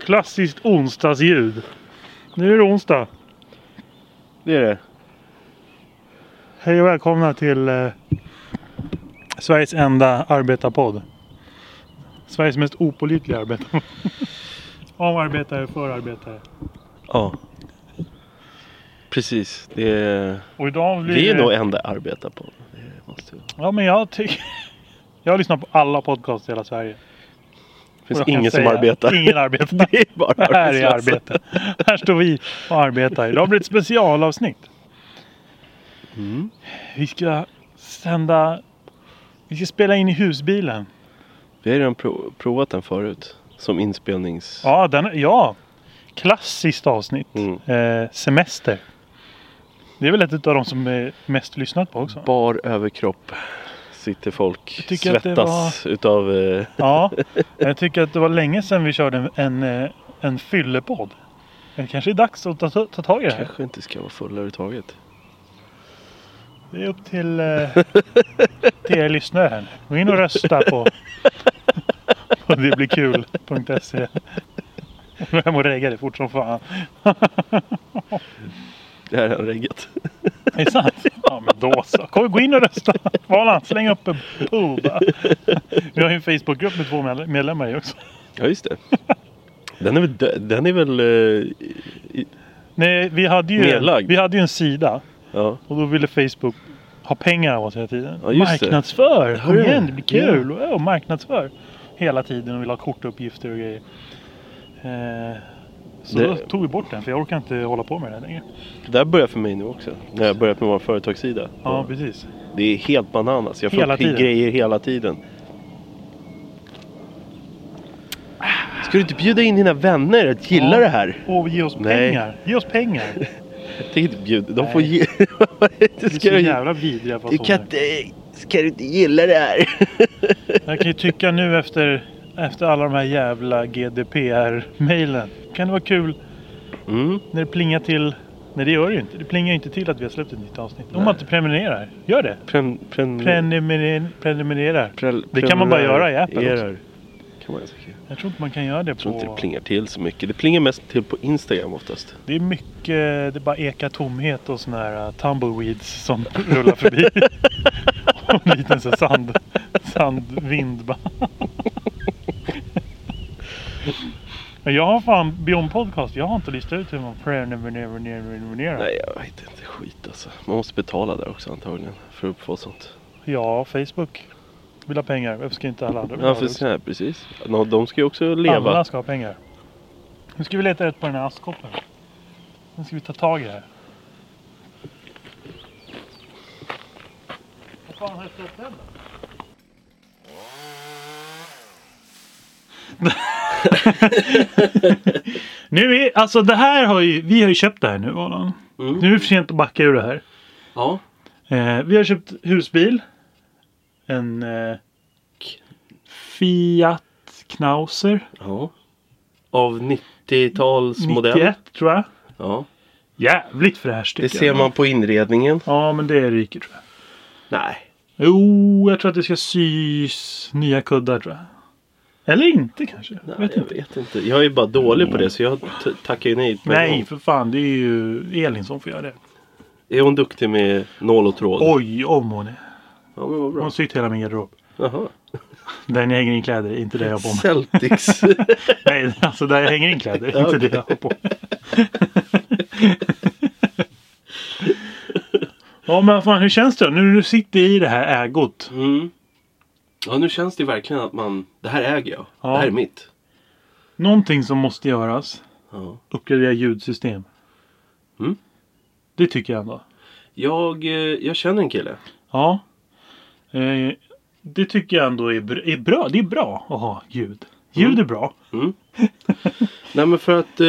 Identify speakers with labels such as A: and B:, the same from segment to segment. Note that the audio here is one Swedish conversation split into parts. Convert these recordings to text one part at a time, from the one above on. A: Klassiskt onsdagsljud. Nu är det onsdag.
B: Det är det.
A: Hej och välkomna till eh, Sveriges enda arbetarpodd. Sveriges mest opålitliga arbetarpodd. Av arbetare för arbetare.
B: Ja. Precis. Det är,
A: Och idag blir
B: vi är nog enda arbetarpodden. Det måste ju-
A: Ja men jag tycker... Jag lyssnar på alla podcasts i hela Sverige.
B: Det
A: Och
B: finns
A: jag kan
B: ingen som
A: säga,
B: arbetar.
A: Ingen arbetar.
B: Det är bara
A: Det här är
B: arbetslösa.
A: arbete. Här står vi och arbetar. Idag blir det ett specialavsnitt.
B: Mm.
A: Vi ska sända... Vi ska spela in i husbilen.
B: Vi har ju redan pro- provat den förut. Som inspelnings...
A: Ja, den, ja. klassiskt avsnitt.
B: Mm.
A: Eh, semester. Det är väl ett av de som är mest lyssnat på också.
B: Bar överkropp. Sitter folk.
A: tycker att det
B: Svettas utav... Eh,
A: Ja, jag tycker att det var länge sedan vi körde en, en, eh, en fyllepodd. Det kanske är dags att ta, ta, ta tag i det här.
B: kanske inte ska vara fulla överhuvudtaget.
A: Det är upp till, eh, till er lyssnare här nu. Gå in och rösta på, på detblir-kul.se. Jag hem och regga det fort som fan.
B: Det här är en regget.
A: Är det sant? Ja men då så. Kom, gå in och rösta. Valan, släng upp en pub. Vi har ju en Facebookgrupp med två medle- medlemmar i också.
B: Ja just det. Den är väl, dö- den är väl eh,
A: Nej, vi hade ju,
B: Nedlagd.
A: vi hade ju en sida
B: ja.
A: och då ville Facebook ha pengar av oss hela tiden.
B: Ja, just det.
A: marknadsför! Kom
B: Ja.
A: igen, det blir kul! Ja. marknadsför! Hela tiden och vill ha kortuppgifter och grejer. Eh, så
B: Det-
A: då tog vi bort den för jag orkar inte hålla på med det här längre.
B: Det där börjar för mig nu också. När jag börjat med vår företagssida.
A: Ja, precis.
B: Det är helt bananas. Jag får
A: Hela
B: upp
A: tiden.
B: grejer hela tiden. Ska du inte bjuda in dina vänner att gilla
A: Ja.
B: det här?
A: Och ge oss
B: Nej.
A: pengar! Ge oss pengar!
B: Jag tänker inte bjuda. De får
A: Nej.
B: ge...
A: Det är
B: ska,
A: så
B: du...
A: jävla vidriga fasoner.
B: Du kan inte... ska du inte gilla det här?
A: Jag kan ju tycka nu efter, efter alla de här jävla GDPR-mailen. Kan det vara kul
B: Mm.
A: när det plingar till? Nej det gör det ju inte. Det plingar ju inte till att vi har släppt ett nytt avsnitt. Om man inte prenumererar. Gör det.
B: Pren... Pren...
A: Prenumerer, prenumererar.
B: prel-
A: Det kan man bara göra i
B: prenumererar.
A: appen också.
B: Kan man ganska kul.
A: Jag tror inte man kan göra det
B: Jag tror inte det
A: på...
B: plingar till så mycket. Det plingar mest till på Instagram oftast.
A: Det är mycket... Det bara ekar tomhet och såna här uh, tumbleweeds som rullar förbi. och en liten så här sand, sandvind bara. Men jag har fan, Beyond Podcast, jag har inte listat ut hur man prenumererar.
B: Nej, jag vet inte. Skit alltså. Man måste betala där också antagligen. För att få sånt.
A: Ja, Facebook vill ha pengar. Varför ska inte alla andra vilja
B: Ja,
A: ha
B: för
A: det också?
B: sen, precis. Nå, de ska ju också leva.
A: Alla ska ha pengar. Nu ska vi leta rätt på den här askkoppen. Nu ska vi ta tag i det här. Vad fan har jag ställt den då? nu är, alltså det här har ju, vi har ju köpt det här nu Adam.
B: Mm.
A: Nu är det för sent att backa ur det här.
B: Ja.
A: Eh, vi har köpt husbil. En eh, Fiat Knauser.
B: ja. Av 90-talsmodell.
A: 91 tror jag.
B: Ja.
A: Jävligt fräscht
B: Det
A: tycker
B: ser
A: jag.
B: man på inredningen.
A: Ja men det är riket tror jag.
B: Nej.
A: Jo, jag tror att det ska sys nya kuddar tror jag. Eller inte kanske.
B: Nej,
A: vet
B: jag
A: inte.
B: vet inte. Jag är bara dålig på det så jag t- tackar ju nej. på en
A: Nej
B: gång.
A: för fan, det är ju Elin som får göra det.
B: Är hon duktig med nål och tråd?
A: Oj, om hon är.
B: Ja, men vad
A: Hon har
B: bra.
A: sytt hela min garderob.
B: Jaha.
A: Där jag hänger in kläder, inte det jag har på mig.
B: Celtics.
A: Nej, alltså där jag hänger in kläder.
B: Ja,
A: Inte
B: okej.
A: det jag har på. ja men vad fan hur känns det då? Nu när du sitter i det här ägot.
B: mm. Ja, nu känns det verkligen att man... Det här äger jag.
A: Ja.
B: Det här är mitt.
A: Någonting som måste göras.
B: Ja.
A: Uppgradera ljudsystem.
B: Mm.
A: Det tycker jag ändå.
B: Jag, eh, jag känner en kille.
A: Ja. Eh, det tycker jag ändå är, br- är bra. Det är bra att ha ljud. Ljud
B: Mm.
A: är bra.
B: Nej men för att eh,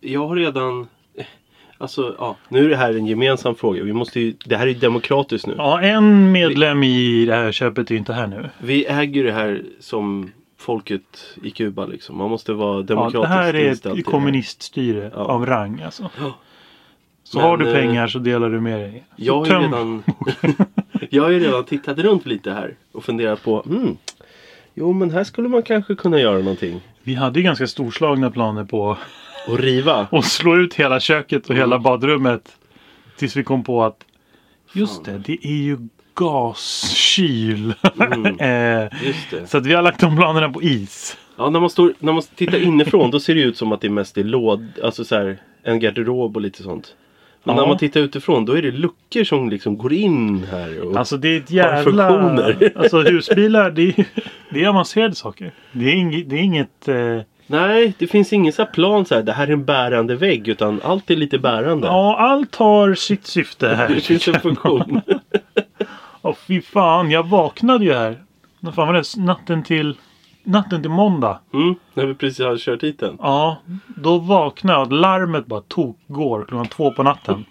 B: jag har redan... Alltså ja, nu är det här en gemensam fråga. Vi måste ju, det här är ju demokratiskt nu.
A: Ja, en medlem i det här köpet är ju inte här nu.
B: Vi äger ju det här som folket i Kuba liksom. Man måste vara
A: Ja,
B: demokratiskt
A: det här är
B: inställd
A: ett
B: till
A: kommuniststyre
B: Ja.
A: av rang alltså.
B: Ja.
A: Så
B: Men,
A: har du
B: eh,
A: pengar så delar du med dig. Så
B: Jag har ju
A: töm-
B: redan, jag har ju redan hmm, tittat runt lite här och funderat på mm, Jo men här skulle man kanske kunna göra någonting.
A: Vi hade ju ganska storslagna planer på
B: Och riva.
A: att slå ut hela köket och
B: Mm.
A: hela badrummet. Tills vi kom på att just det, det är ju gaskyl.
B: Mm.
A: eh,
B: Just det.
A: så att vi har lagt de planerna på is.
B: Ja, när man, står, när man tittar inifrån då ser det ut som att det mest är låd, alltså så här, en garderob och lite sånt. Men
A: Ja.
B: när man tittar utifrån då är det luckor som liksom går in här. Och,
A: Alltså det är ett jävla...
B: funktioner.
A: Alltså husbilar, det är, det är avancerade saker. Det är, ing, det är inget... Eh,
B: Nej, det finns ingen så här plan så här, det här är en bärande vägg utan allt är lite bärande.
A: ja, allt har sitt syfte här.
B: Det finns en funktion.
A: Åh fy fan, jag vaknade ju här. Vad fan var det? Natten till... Natten till måndag.
B: Mm, när vi precis hade kört hit den.
A: Ja, då vaknade jag och larmet bara tokgår klockan två på natten.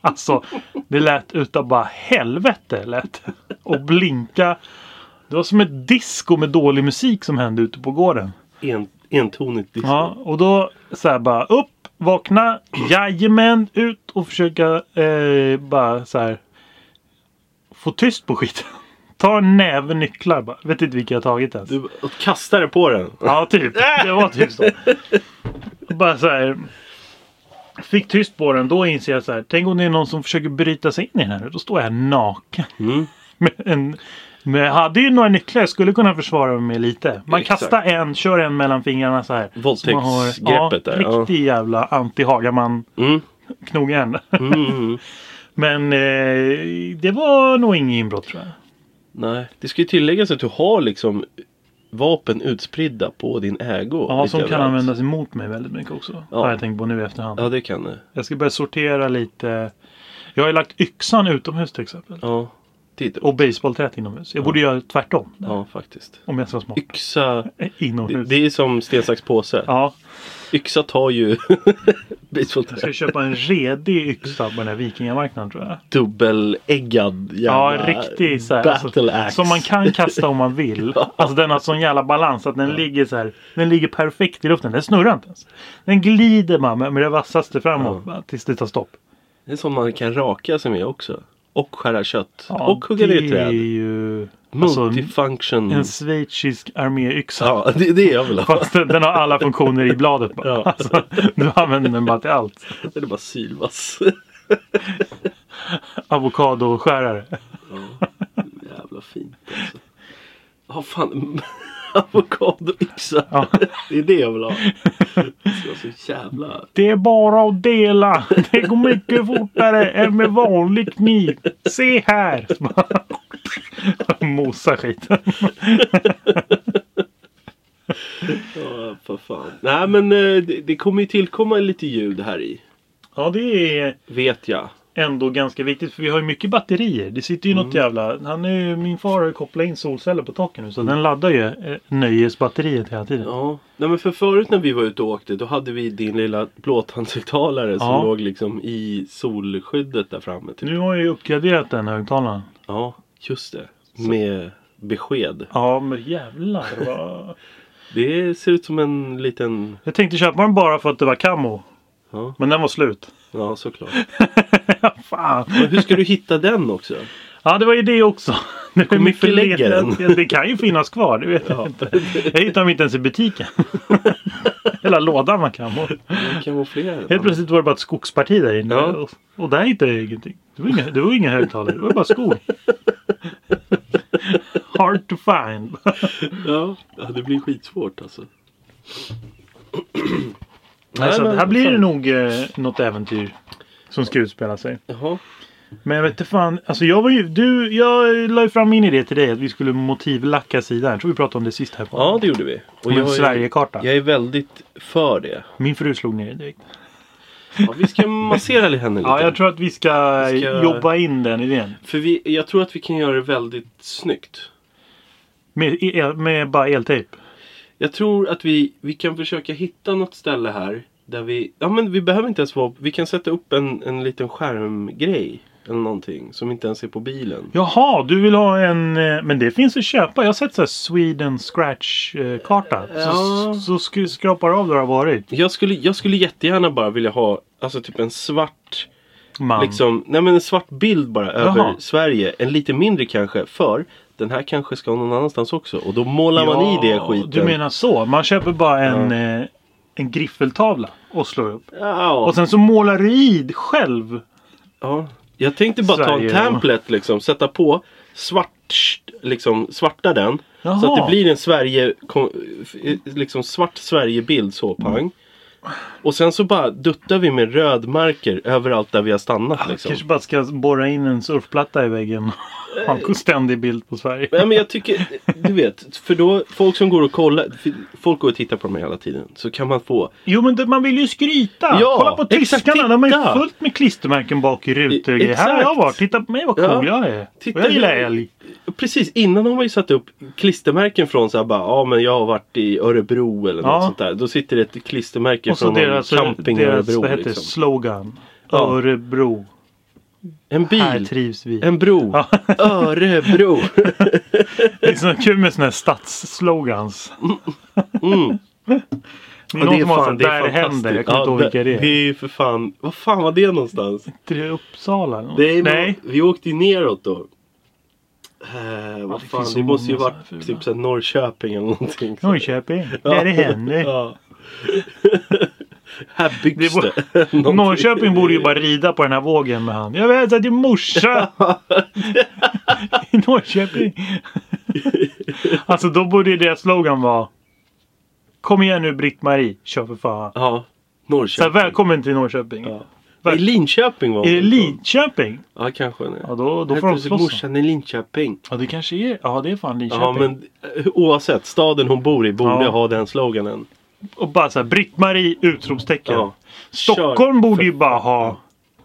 A: Alltså, det lät utav bara helvete lät det. Och blinka. Det var som ett disco med dålig musik som hände ute på gården.
B: En, entonigt disco.
A: Ja, och då så här bara upp, vakna, jajamän, ut och försöka eh, bara så här få tyst på skiten. Ta en näve nycklar bara. Vet inte vilka jag tagit ens.
B: Du och kastade på den.
A: Ja, typ. Det var typ så. Och Bara så här. Fick tyst på den. Då inser jag så här. Tänk om det är någon som försöker bryta sig in i den här. Då står jag här naken.
B: Mm.
A: Med en, med, jag hade ju några nycklar. Jag skulle kunna försvara mig lite. Man
B: Exakt.
A: kastar en, kör en mellan fingrarna så här. Så man har-
B: Våldtäktsgreppet
A: ja,
B: där. Ja.
A: Riktig jävla anti-Hagaman.
B: Mm.
A: Knogjärn.
B: Mm, mm, mm.
A: Men eh, det var nog inget inbrott tror jag.
B: Nej, det ska ju tilläggas att du har liksom vapen utspridda på din ägo.
A: Ja,
B: lite
A: som kan
B: överallt.
A: användas emot mig väldigt mycket också.
B: Ja.
A: Har jag tänkt på nu i efterhand.
B: Ja, det kan du.
A: Jag ska börja sortera lite. Jag har ju lagt yxan utomhus till exempel.
B: Ja, titta.
A: Och baseballträet inomhus. Jag borde göra tvärtom. där,
B: Ja, faktiskt.
A: Om jag ska vara smart. Eh,
B: Yxa. Det,
A: Inomhus.
B: det är som sten, sax, påse.
A: Ja,
B: Yxa tar ju
A: jag ska
B: basebollträ.
A: köpa en redig yxa på den här vikingamarknaden tror jag.
B: Dubbeläggad
A: Ja,
B: jävla
A: riktig så här. alltså,
B: battle axe.
A: som man kan kasta om man vill. Alltså den har sån jävla balans att den ligger så här. Den ligger perfekt i luften. Den snurrar inte ens. Den glider man med, med det vassaste framåt bara, tills det tar stopp.
B: Det är som man kan raka sig med också. Och skära kött.
A: Ja,
B: och hugga ner
A: Det är
B: träd.
A: ju alltså,
B: Multifunction.
A: en schweizisk arméyxa.
B: Ja, det är det jag vill ha.
A: Fast den, den har alla funktioner i bladet bara.
B: Ja.
A: Alltså, du använder den bara till allt.
B: Det är bara sylvass.
A: Avokadoskärare.
B: Jävla fint alltså. Ja fan. Avokadoyxa.
A: Ja.
B: Det är det jag vill ha. Det ska vara så jävla...
A: Det är bara att dela. Det går mycket fortare än med vanlig kniv. Se här! Mosa skiten.
B: Ja, för fan. Nej men eh, det, det kommer ju tillkomma lite ljud här i.
A: Ja, det är
B: Vet jag.
A: ändå ganska viktigt för vi har ju mycket batterier. Det sitter ju något jävla... Han är ju, min far har ju kopplat in solceller på taket nu så den laddar ju eh, nöjesbatteriet hela tiden.
B: Ja. Nej men för förut när vi var ute och åkte då hade vi din lilla blåtandshögtalare som
A: Ja. Mm.
B: låg liksom i solskyddet där framme. Typ.
A: Nu har jag ju uppgraderat den högtalaren.
B: Ja, just det. Med besked.
A: Ja, men jävlar vad...
B: Det ser ut som en liten...
A: Jag tänkte köpa den bara för att det var kammo.
B: Ja,
A: Men den var slut.
B: ja såklart.
A: Fan.
B: Men hur ska du hitta den också?
A: Ja det var ju det också. Det var
B: Hur mycket
A: mycket
B: lägger
A: letat. Det kan ju finnas kvar. Det vet jag inte. Jag hittar dem inte ens i butiken. Hela lådan man kan. Och
B: Man kamouflerar
A: helt
B: den.
A: plötsligt var det bara ett skogsparti där inne.
B: Ja.
A: Och, och där hittade jag ingenting. Det var inga, det var inga högtalare. Det var bara skog. Hard to find.
B: Ja, ja, det blir skitsvårt alltså.
A: Nej, så
B: men-
A: att här blir det nog eh, något äventyr. Som ska utspela sig.
B: Jaha.
A: Men jag vet inte fan. Alltså jag var ju. Du, jag la ju fram min idé till dig. Att vi skulle motivlacka sidan. Jag tror vi pratade om det sist här på.
B: Ja, det gjorde vi.
A: Om en
B: är-
A: Sverigekarta.
B: jag är väldigt för det.
A: Min fru slog ner det direkt.
B: Ja, vi ska massera henne lite.
A: Ja, jag tror att vi ska,
B: Vi ska-
A: jobba in den idén.
B: För vi, jag tror att vi kan göra det väldigt snyggt.
A: Med, el, med bara eltejp.
B: Jag tror att vi, vi kan försöka hitta något ställe här. Där vi, ja men vi behöver inte ens vara, vi kan sätta upp en, en liten skärmgrej. Eller någonting som inte ens är på bilen.
A: Jaha, du vill ha en... eh, Men det finns att köpa. Jag har sett så här Sweden Scratch-karta.
B: Ja.
A: Så, så sk- skrapar av där det har varit.
B: Jag skulle, jag skulle jättegärna bara vilja ha, alltså typ en svart
A: Man.
B: Liksom, nej men en svart bild bara över Sverige. En lite mindre kanske. För den här kanske ska någon annanstans också. Och då målar man i det skiten.
A: Du menar så. Man köper bara en, eh, en griffeltavla och slår upp.
B: Ja.
A: Och sen så målar du i själv.
B: Ja. Jag tänkte bara
A: Sverige,
B: ta
A: ja.
B: en template liksom, sätta på svart, liksom, svarta den.
A: Jaha.
B: Så att det blir en Sverige, kom- eh, liksom svart Sverigebild så pang. Och sen så bara duttar vi med rödmarker överallt där vi har stannat liksom.
A: Ah,
B: Eh.
A: Kanske bara ska borra in en surfplatta i väggen. Ha en ständig bild på Sverige.
B: Ja, men jag tycker, du vet, för då folk som går och kollar, för folk går och tittar på dem hela tiden. Så kan man få,
A: Jo men det, man vill ju skryta!
B: Ja,
A: Kolla på
B: exakt,
A: tyskarna, de är ju
B: titta.
A: fullt med klistermärken bak i rutor och
B: I-
A: grejer. Här har jag
B: exakt.
A: varit, titta på mig vad cool
B: Ja.
A: jag är.
B: Titta
A: och jag gillar
B: hur-
A: älg.
B: precis innan har man ju satt upp klistermärken från så här bara, ja men jag har varit i Örebro eller
A: Ja.
B: något sånt där. Då sitter det ett klistermärke
A: Och så
B: från
A: deras,
B: någon camping i
A: deras
B: Örebro.
A: vad heter det,
B: liksom.
A: slogan.
B: Ja.
A: Örebro.
B: En
A: Här
B: bil,
A: trivs vi.
B: en bro,
A: Ja.
B: Örebro.
A: Det är så kul med såna här stadsslogans.
B: Mm.
A: Det är någon som har sån där
B: fantastiskt.
A: händer. Jag kommer inte ihåg vilka det
B: Det
A: är.
B: är ju för fan, vad fan var det någonstans?
A: Det är Uppsala? eller något.
B: Det är,
A: Nej.
B: Vi åkte ju neråt då. Eh, vad
A: det
B: fan,
A: finns så
B: det måste ju
A: många
B: varit
A: såna här fula.
B: typ såhär Norrköping eller någonting.
A: Norrköping. Där det händer.
B: Ja. Här byggs
A: Det
B: det.
A: bor-
B: Någonting.
A: Norrköping borde ju bara rida på den här vågen med han. Jag vet att din morsa i Norrköping. Alltså då borde ju deras slogan vara. Kom igen nu Britt-Marie. Kör för fan.
B: Ja,
A: Så här,
B: Norrköping.
A: välkommen till Norrköping.
B: Ja.
A: väl-
B: I Linköping var
A: Är det
B: hon ifrån.
A: Linköping?
B: Ja, kanske. Nej.
A: Ja då, då får de
B: Hette
A: slåss.
B: morsan i Linköping.
A: Ja det kanske är. Ja det är fan Linköping.
B: Ja, men eh, oavsett. Staden hon bor i borde
A: Ja.
B: ha den sloganen.
A: Och bara så här Britt-Marie utropstecken.
B: Ja.
A: Stockholm
B: Kör.
A: borde ju bara ha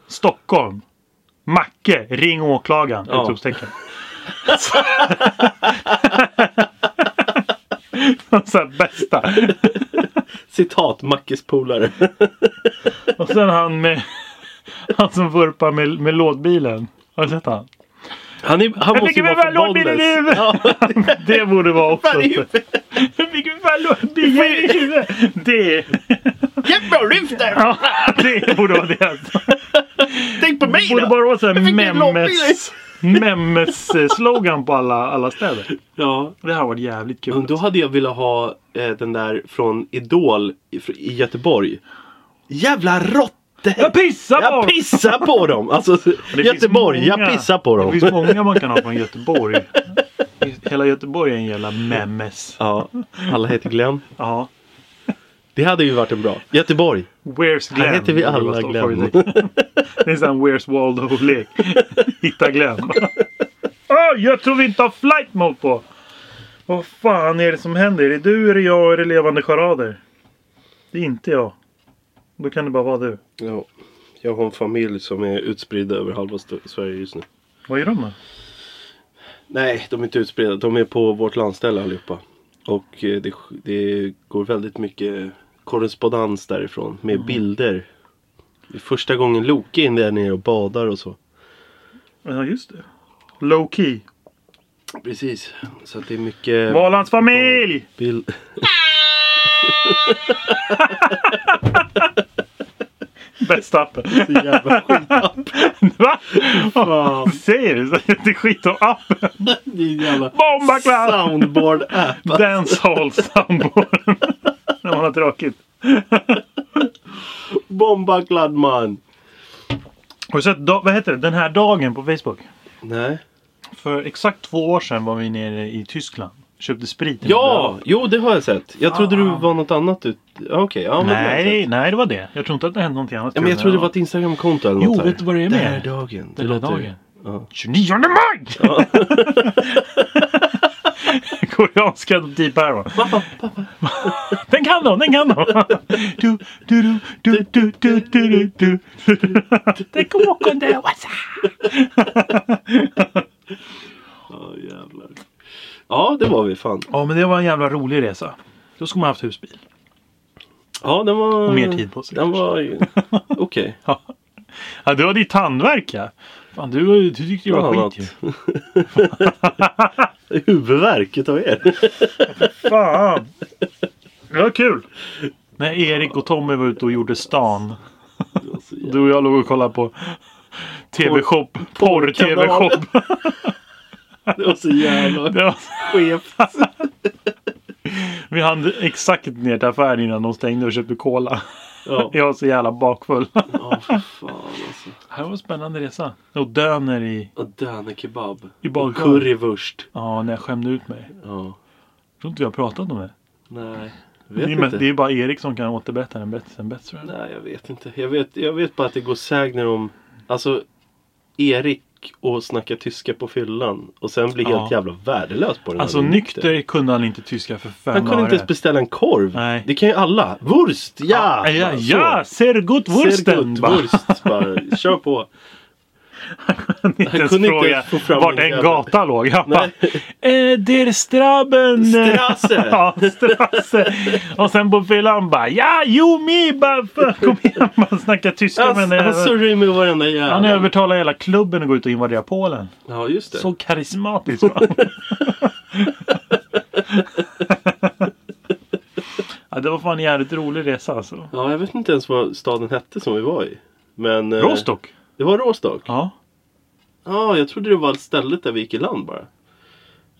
A: Stockholm. Macke, ring åklagaren!
B: Ja.
A: Utropstecken. så här, bästa.
B: Citat, Mackes polare.
A: Och sen han med... Han som vurpar med, med lådbilen. Har du sett han?
B: Han, är, han
A: Jag
B: måste
A: fick
B: ju
A: väl
B: vara
A: vara
B: från
A: lådbilen i
B: Bollnäs.
A: huvudet!
B: Ja,
A: Det borde vara också.
B: fan i huvudet.
A: Jag fick väl vara lådbilen i huvudet! Det,
B: Jättebra, lyft där!
A: ja, det borde vara det.
B: Tänk på mig
A: Det borde bara vara så
B: Jag
A: här
B: fick en lådbil.
A: memes... Memes-slogan på alla, alla städer.
B: Ja,
A: Det här var jävligt kul.
B: men då hade jag velat ha eh, den där från Idol i, fr- i Göteborg. Jävla råttor!
A: Jag pissar på
B: Jag
A: dem!
B: pissar på dem! Alltså,
A: Det finns
B: Göteborg,
A: många-
B: jag pissar på
A: Det
B: dem.
A: finns många man kan ha från Göteborg. Hela Göteborg är en jävla memes.
B: Ja, alla heter Glenn.
A: Ja.
B: Det hade ju varit en bra. Göteborg.
A: Where's Glenn?
B: Här heter vi alla
A: Borde det vara
B: Glenn.
A: frågetecken. Det är en sån Where's Waldo-lek. Hitta Glenn. Åh, Ah, jag tror vi inte har flight mode på! Vad fan är det som händer? Är det du, är det jag, är det levande charader? Det är inte jag. Då kan det bara vara du.
B: Ja, jag har en familj som är utspridda över halva St- Sverige just nu.
A: Vad är de då?
B: Nej, de är inte utspridda. De är på vårt landställe allihopa. Och eh, det, sk- det går väldigt mycket korrespondens därifrån med
A: Mm.
B: bilder. Det är första gången Loke är in där nere och badar och så.
A: Ja, just det. Low key.
B: Precis, så att det är mycket
A: Valands familj!
B: bild.
A: Bästa appen.
B: Jävla skit.
A: Va? Vad Säger du? Så Det är skit om appen.
B: Din jävla
A: Bomba klass!
B: soundboard app.
A: Dancehall soundboard. När man har tråkigt.
B: Bomba glad man.
A: Har du sett, da- vad heter det, den här dagen på Facebook?
B: Nej.
A: För exakt två år sedan var vi nere i Tyskland. Köpte sprit. i
B: Ja,
A: Moldavien.
B: jo det har jag sett. Jag trodde du var något annat. ut- Ja, Okej, ja men det har jag sett.
A: Nej, nej, det var det. Jag tror inte att det hände någonting annat.
B: Ja, men jag
A: kul.
B: trodde det var ett Instagramkonto eller
A: Jo,
B: något här.
A: vet du vad det är med?
B: Den här dagen. Det
A: Den här
B: låter ju-
A: dagen.
B: Ja.
A: 29 maj! Koreanska typ här va. Den kan de, den kan de. Du, du, du, du, du, du, du, du, du. Det kommer åka under what's
B: Ja, jävlar. Ja, det var vi fan.
A: Ja, men det var en jävla rolig resa. Då skulle man haft husbil.
B: Ja, den var...
A: Och mer tid på sig,
B: Mm. Den
A: kanske.
B: var ju- okej.
A: Ja, du hade ju tandvärk ja. Fan, du, var ju- du tyckte det
B: Bland
A: var
B: annat.
A: skit ju.
B: Huvudvärk utav er.
A: Fan! Det var kul! När Erik och Tommy var ute och gjorde stan. Du och jag låg och kollade på TV-shop. Porr-TV-shop.
B: Det var så jävla
A: Det var,
B: skevt.
A: vi hann exakt ner till affären innan de stängde och köpte cola.
B: Ja,
A: Jag var så jävla bakfull.
B: ja för fan alltså.
A: Det här var en spännande resa. Och döner i...
B: Och dönerkebab.
A: I
B: Och
A: badkar.
B: currywurst.
A: Ja, när jag skämde ut mig.
B: Ja.
A: Jag tror inte vi har pratat om det.
B: Nej.
A: Det
B: Vet
A: är, mest,
B: inte.
A: det är bara Erik som kan återberätta den bättre än bättre. tror jag.
B: Nej, jag vet inte. Jag vet, jag vet bara att det går sägner om... Alltså, Erik och snacka tyska på fyllan. Och sen blir
A: Ja.
B: helt jävla värdelös på den här
A: Alltså
B: linjen.
A: nykter kunde han inte tyska för fem
B: Han kunde inte ens beställa en korv.
A: Nej. Ah,
B: Det kan ju alla. Wurst! Ja!
A: Ja, ja,
B: Så.
A: ja ser gut
B: Sehr
A: wursten!
B: gut,
A: bara.
B: Wurst! Bara, kör på.
A: Han inte
B: Han
A: ens
B: kunde inte
A: fråga
B: ens få fram
A: vart
B: någon
A: en
B: jävel.
A: gata låg. Han bara,
B: Nej.
A: eh, der Straben...
B: Strasse.
A: ja, Strasse. Och sen på fyllan bara, ja, jo, mi, ba- fa-" kom igen. Man snackar tyska
B: Han,
A: med
B: han
A: den
B: surrar ju med varenda jävel.
A: Han övertalar hela klubben att gå ut och invadera Polen.
B: Ja, just det.
A: Så karismatisk va? ja, det var fan en jävligt rolig resa alltså.
B: Ja, jag vet inte ens vad staden hette som vi var i. Men... eh,
A: Rostock?
B: Det var Rostock? Ja,
A: Ja.
B: jag trodde det var stället där vi gick i land bara.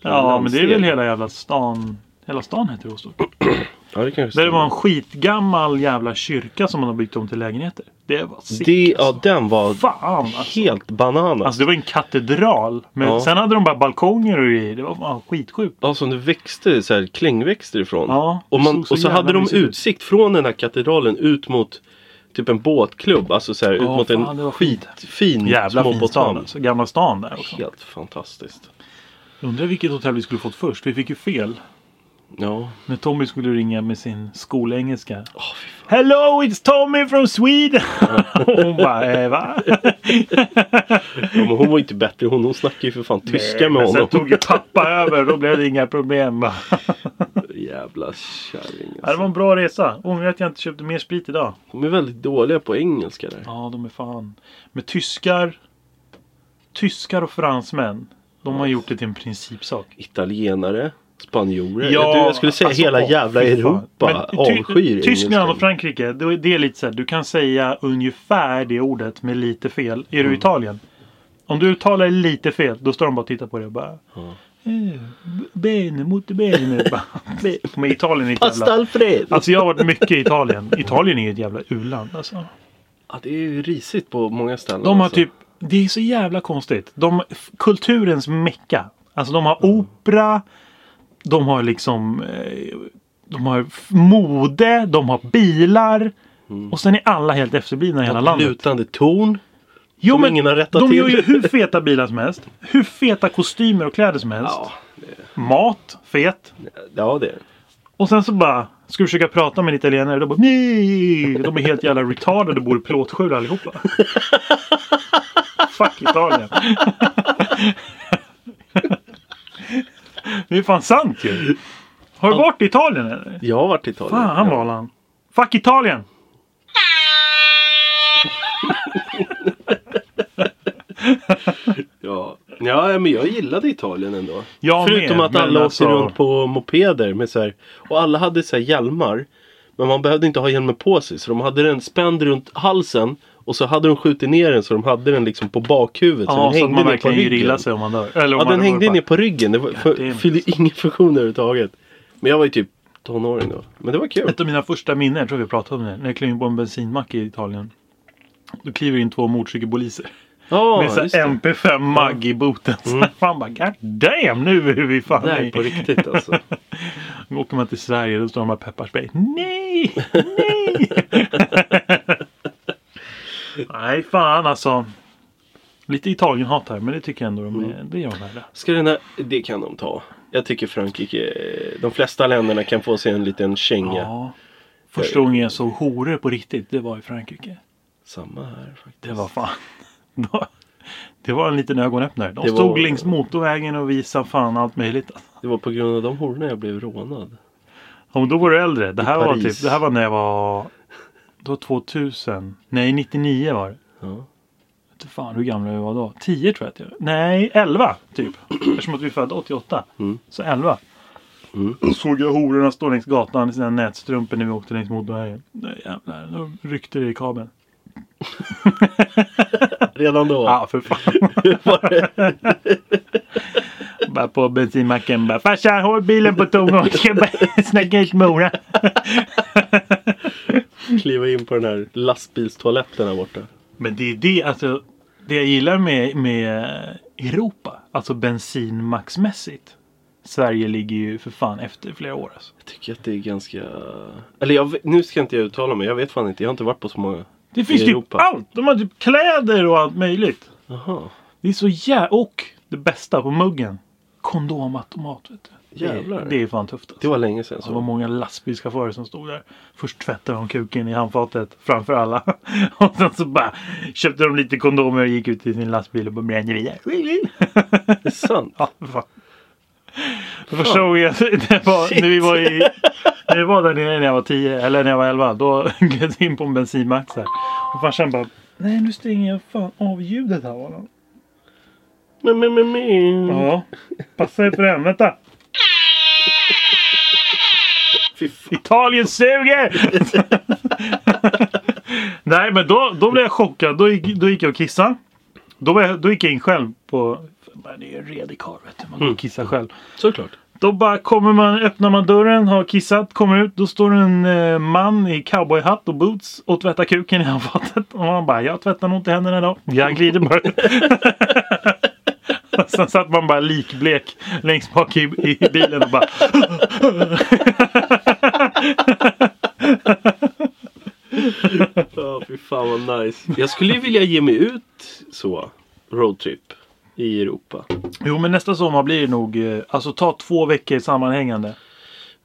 A: Ja, men det är väl
B: Landsdel.
A: hela jävla stan. Hela stan heter Rostock.
B: Ja, det kanske
A: Där det var en skitgammal jävla kyrka som man har byggt om till lägenheter. Det var sick
B: Det, ja,
A: alltså.
B: den var
A: Fan alltså.
B: helt banana.
A: Alltså det var en katedral. Men
B: Ja.
A: sen hade de bara balkonger och grejer. Det var fan skitsjukt.
B: ja, som det växte, så här, klängväxter ifrån.
A: Ja,
B: och,
A: det
B: man,
A: såg så
B: och så hade
A: jävla
B: de
A: mysigt ut.
B: utsikt från den här katedralen ut mot typ en båtklubb. Alltså så här, ut
A: Ja,
B: mot
A: fan, det var
B: en
A: fint.
B: skitfin
A: Jävla fin stad
B: småbåtshamn.
A: alltså. Gamla stan där också.
B: Helt fantastiskt.
A: Undrar vilket hotell vi skulle fått först. Vi fick ju fel.
B: Ja.
A: När Tommy skulle ringa med sin skolengelska. Hello it's Tommy from Sweden! Hon bara eh, va?
B: ja, men hon var inte bättre. Hon, hon snackade ju för fan tyska med
A: Eh, Men sen
B: honom.
A: tog ju pappa över. Då blev det inga problem. va?
B: Jävla kärring.
A: Ja, det var
B: Alltså.
A: en bra resa. Ångrar att jag inte köpte mer sprit idag.
B: De är väldigt dåliga på engelska där.
A: Ja de är fan. Med tyskar. Tyskar och fransmän. De har gjort det till en principsak.
B: italienare, spanjorer. Ja, Eh, du, jag skulle säga
A: alltså,
B: hela
A: åh,
B: jävla
A: fy fan.
B: Europa
A: Men ty-
B: avskyr
A: Tyskland och
B: engelskan.
A: Frankrike, det är- det är lite så här, du kan säga ungefär det ordet med lite fel. Är
B: Mm.
A: du i Italien? Om du uttalar lite fel, då står de bara och tittar på dig och bara... "Eh, b- Bene, mot bene. Bara, "Be-" Men Italien är ett
B: Pasta
A: jävla...
B: Alfred!
A: Alltså jag har varit mycket i Italien. Italien är ett jävla u-land alltså.
B: ja, det är ju risigt på många ställen.
A: De har
B: alltså.
A: typ... Det är så jävla konstigt. De, f- kulturens mecka. Alltså de
B: Mm.
A: har opera. De har liksom... eh, De har f- mode. De har bilar.
B: Mm.
A: Och sen är alla helt efterblivna i hela landet.
B: Lutande torn.
A: Jo,
B: som ingen har rättat
A: de
B: till.
A: gör ju hur feta bilar som helst. Hur feta kostymer och kläder som helst.
B: Ja,
A: Mat, fet.
B: ja det är det.
A: Och sen så bara... Ska du försöka prata med en italienare? Då bara, nej! De är helt jävla retarded och bor i plåtskjul allihopa. Fuck Italien. Det är fan sant ju. Har du varit i Italien eller? Ah,
B: Jag har varit i Italien.
A: Fan
B: ja.
A: Valan. Fuck Italien!
B: Ja. ja, men jag gillade Italien ändå.
A: Jag
B: Förutom
A: med,
B: att
A: men
B: alla
A: alltså-
B: åkte runt på mopeder med så här, Och alla hade så här hjälmar. Men man behövde inte ha hjälmen på sig. Så de hade den spänd runt halsen. Och så hade de skjutit ner den så de hade den liksom på bakhuvudet. så
A: Ja,
B: den
A: så att
B: hängde
A: man
B: ner på
A: verkligen gör
B: ryggen.
A: illa sig om man dör. Eller om
B: Ja,
A: man
B: den hängde
A: bara-
B: ner på ryggen. Det var, för,
A: damn.
B: fyllde ingen funktion överhuvudtaget. Men jag var ju typ tonåring då. Men det var kul.
A: Ett av mina första minnen, jag tror vi pratade om det, när jag klev in på en bensinmack i Italien. Då kliver in två motorcykelpoliser.
B: Ja,
A: med så
B: just det.
A: MP5 Mag i boten. Så man bara God damn, nu är vi fan
B: Nej,
A: i-
B: på riktigt alltså.
A: Nu åker man till Sverige och står de här pepparspray. Nej! Nej! Nej fan alltså. Lite Italien-hat här men det tycker jag ändå de
B: Mm.
A: är. Det är de värda.
B: Ska den här, det kan de ta. Jag tycker Frankrike, eh, de flesta länderna kan få sig en liten känga.
A: Ja. Första gången jag såg horor på riktigt det var i Frankrike.
B: Samma här faktiskt.
A: Det var fan. då- Det var en liten ögonöppnare. De
B: Det
A: stod
B: var-
A: längs motorvägen och visade fan allt möjligt.
B: Det var på grund av de hororna jag blev rånad.
A: Ja, men då var du äldre. Det här var,
B: Paris.
A: typ, det här var när jag var... Det var 2000. Nej, 99 var det.
B: Ja.
A: Jag vet inte fan hur gamla vi var då. 10 tror jag att jag Nej, 11 typ. Eftersom att vi är födda 88. Så 11. Såg jag hororna stå längs gatan i sina nätstrumpor när vi åkte längs motorvägen. Nej, Jävlar, då ryckte det i kabeln.
B: Redan då.
A: Ja, ah, för fan.
B: Var det-
A: Bara på bensinmacken bara farsan håll bilen på tomgång. Jag ska bara snacka ut Mora.
B: Kliva in på den här lastbilstoaletten där borta.
A: Men det är det alltså. Det jag gillar med, med Europa. Alltså bensinmacksmässigt. Sverige ligger ju för fan efter flera år. Alltså.
B: Jag tycker att det är ganska... Eller jag, vet- nu ska inte jag uttala mig. Jag vet fan inte. Jag har inte varit på så många.
A: Det finns
B: I
A: typ
B: Europa.
A: allt. De har typ kläder och allt möjligt.
B: Jaha.
A: Det är så jävla... Och det bästa på muggen. Kondomautomat vet du.
B: Jävlar.
A: Det är fan tufft alltså.
B: Det var länge sedan.
A: Det var
B: Så.
A: många lastbilschaufförer som stod där. Först tvättade de kuken i handfatet framför alla. Och sen så bara köpte de lite kondomer och gick ut till sin lastbil och bara brände vidare.
B: Det är sant.
A: Ja, för fan. Då förstod jag. Det var, när, vi var i, när vi var där nere när jag var 10 eller när jag var 11. Då gled vi in på en bensinmack så här. Och farsan bara. Nej nu stänger jag fan av ljudet här var
B: Men, men, men, men.
A: Ja. Passa er för den. Vänta.
B: Fy fan.
A: Italien suger! Nej men då, då blev jag chockad. Då gick, då gick jag och kissade. Då, var jag, då gick jag in själv på... Mm. bara, Det är ju en redig karl vet du. Man går och kissar själv.
B: Såklart.
A: Då bara kommer man, öppnar man dörren, har kissat, kommer ut. Då står en eh, man i cowboyhatt och boots och tvättar kuken i handfatet. Och man bara, jag tvättar nog inte händerna idag. Jag glider bara ut. Och Sen satt man bara likblek längst bak i, i bilen och bara...
B: Ja, fy fan vad nice. Jag skulle ju vilja ge mig ut så. Roadtrip. I Europa.
A: Jo men nästa sommar blir det nog, eh, alltså ta två veckor sammanhängande.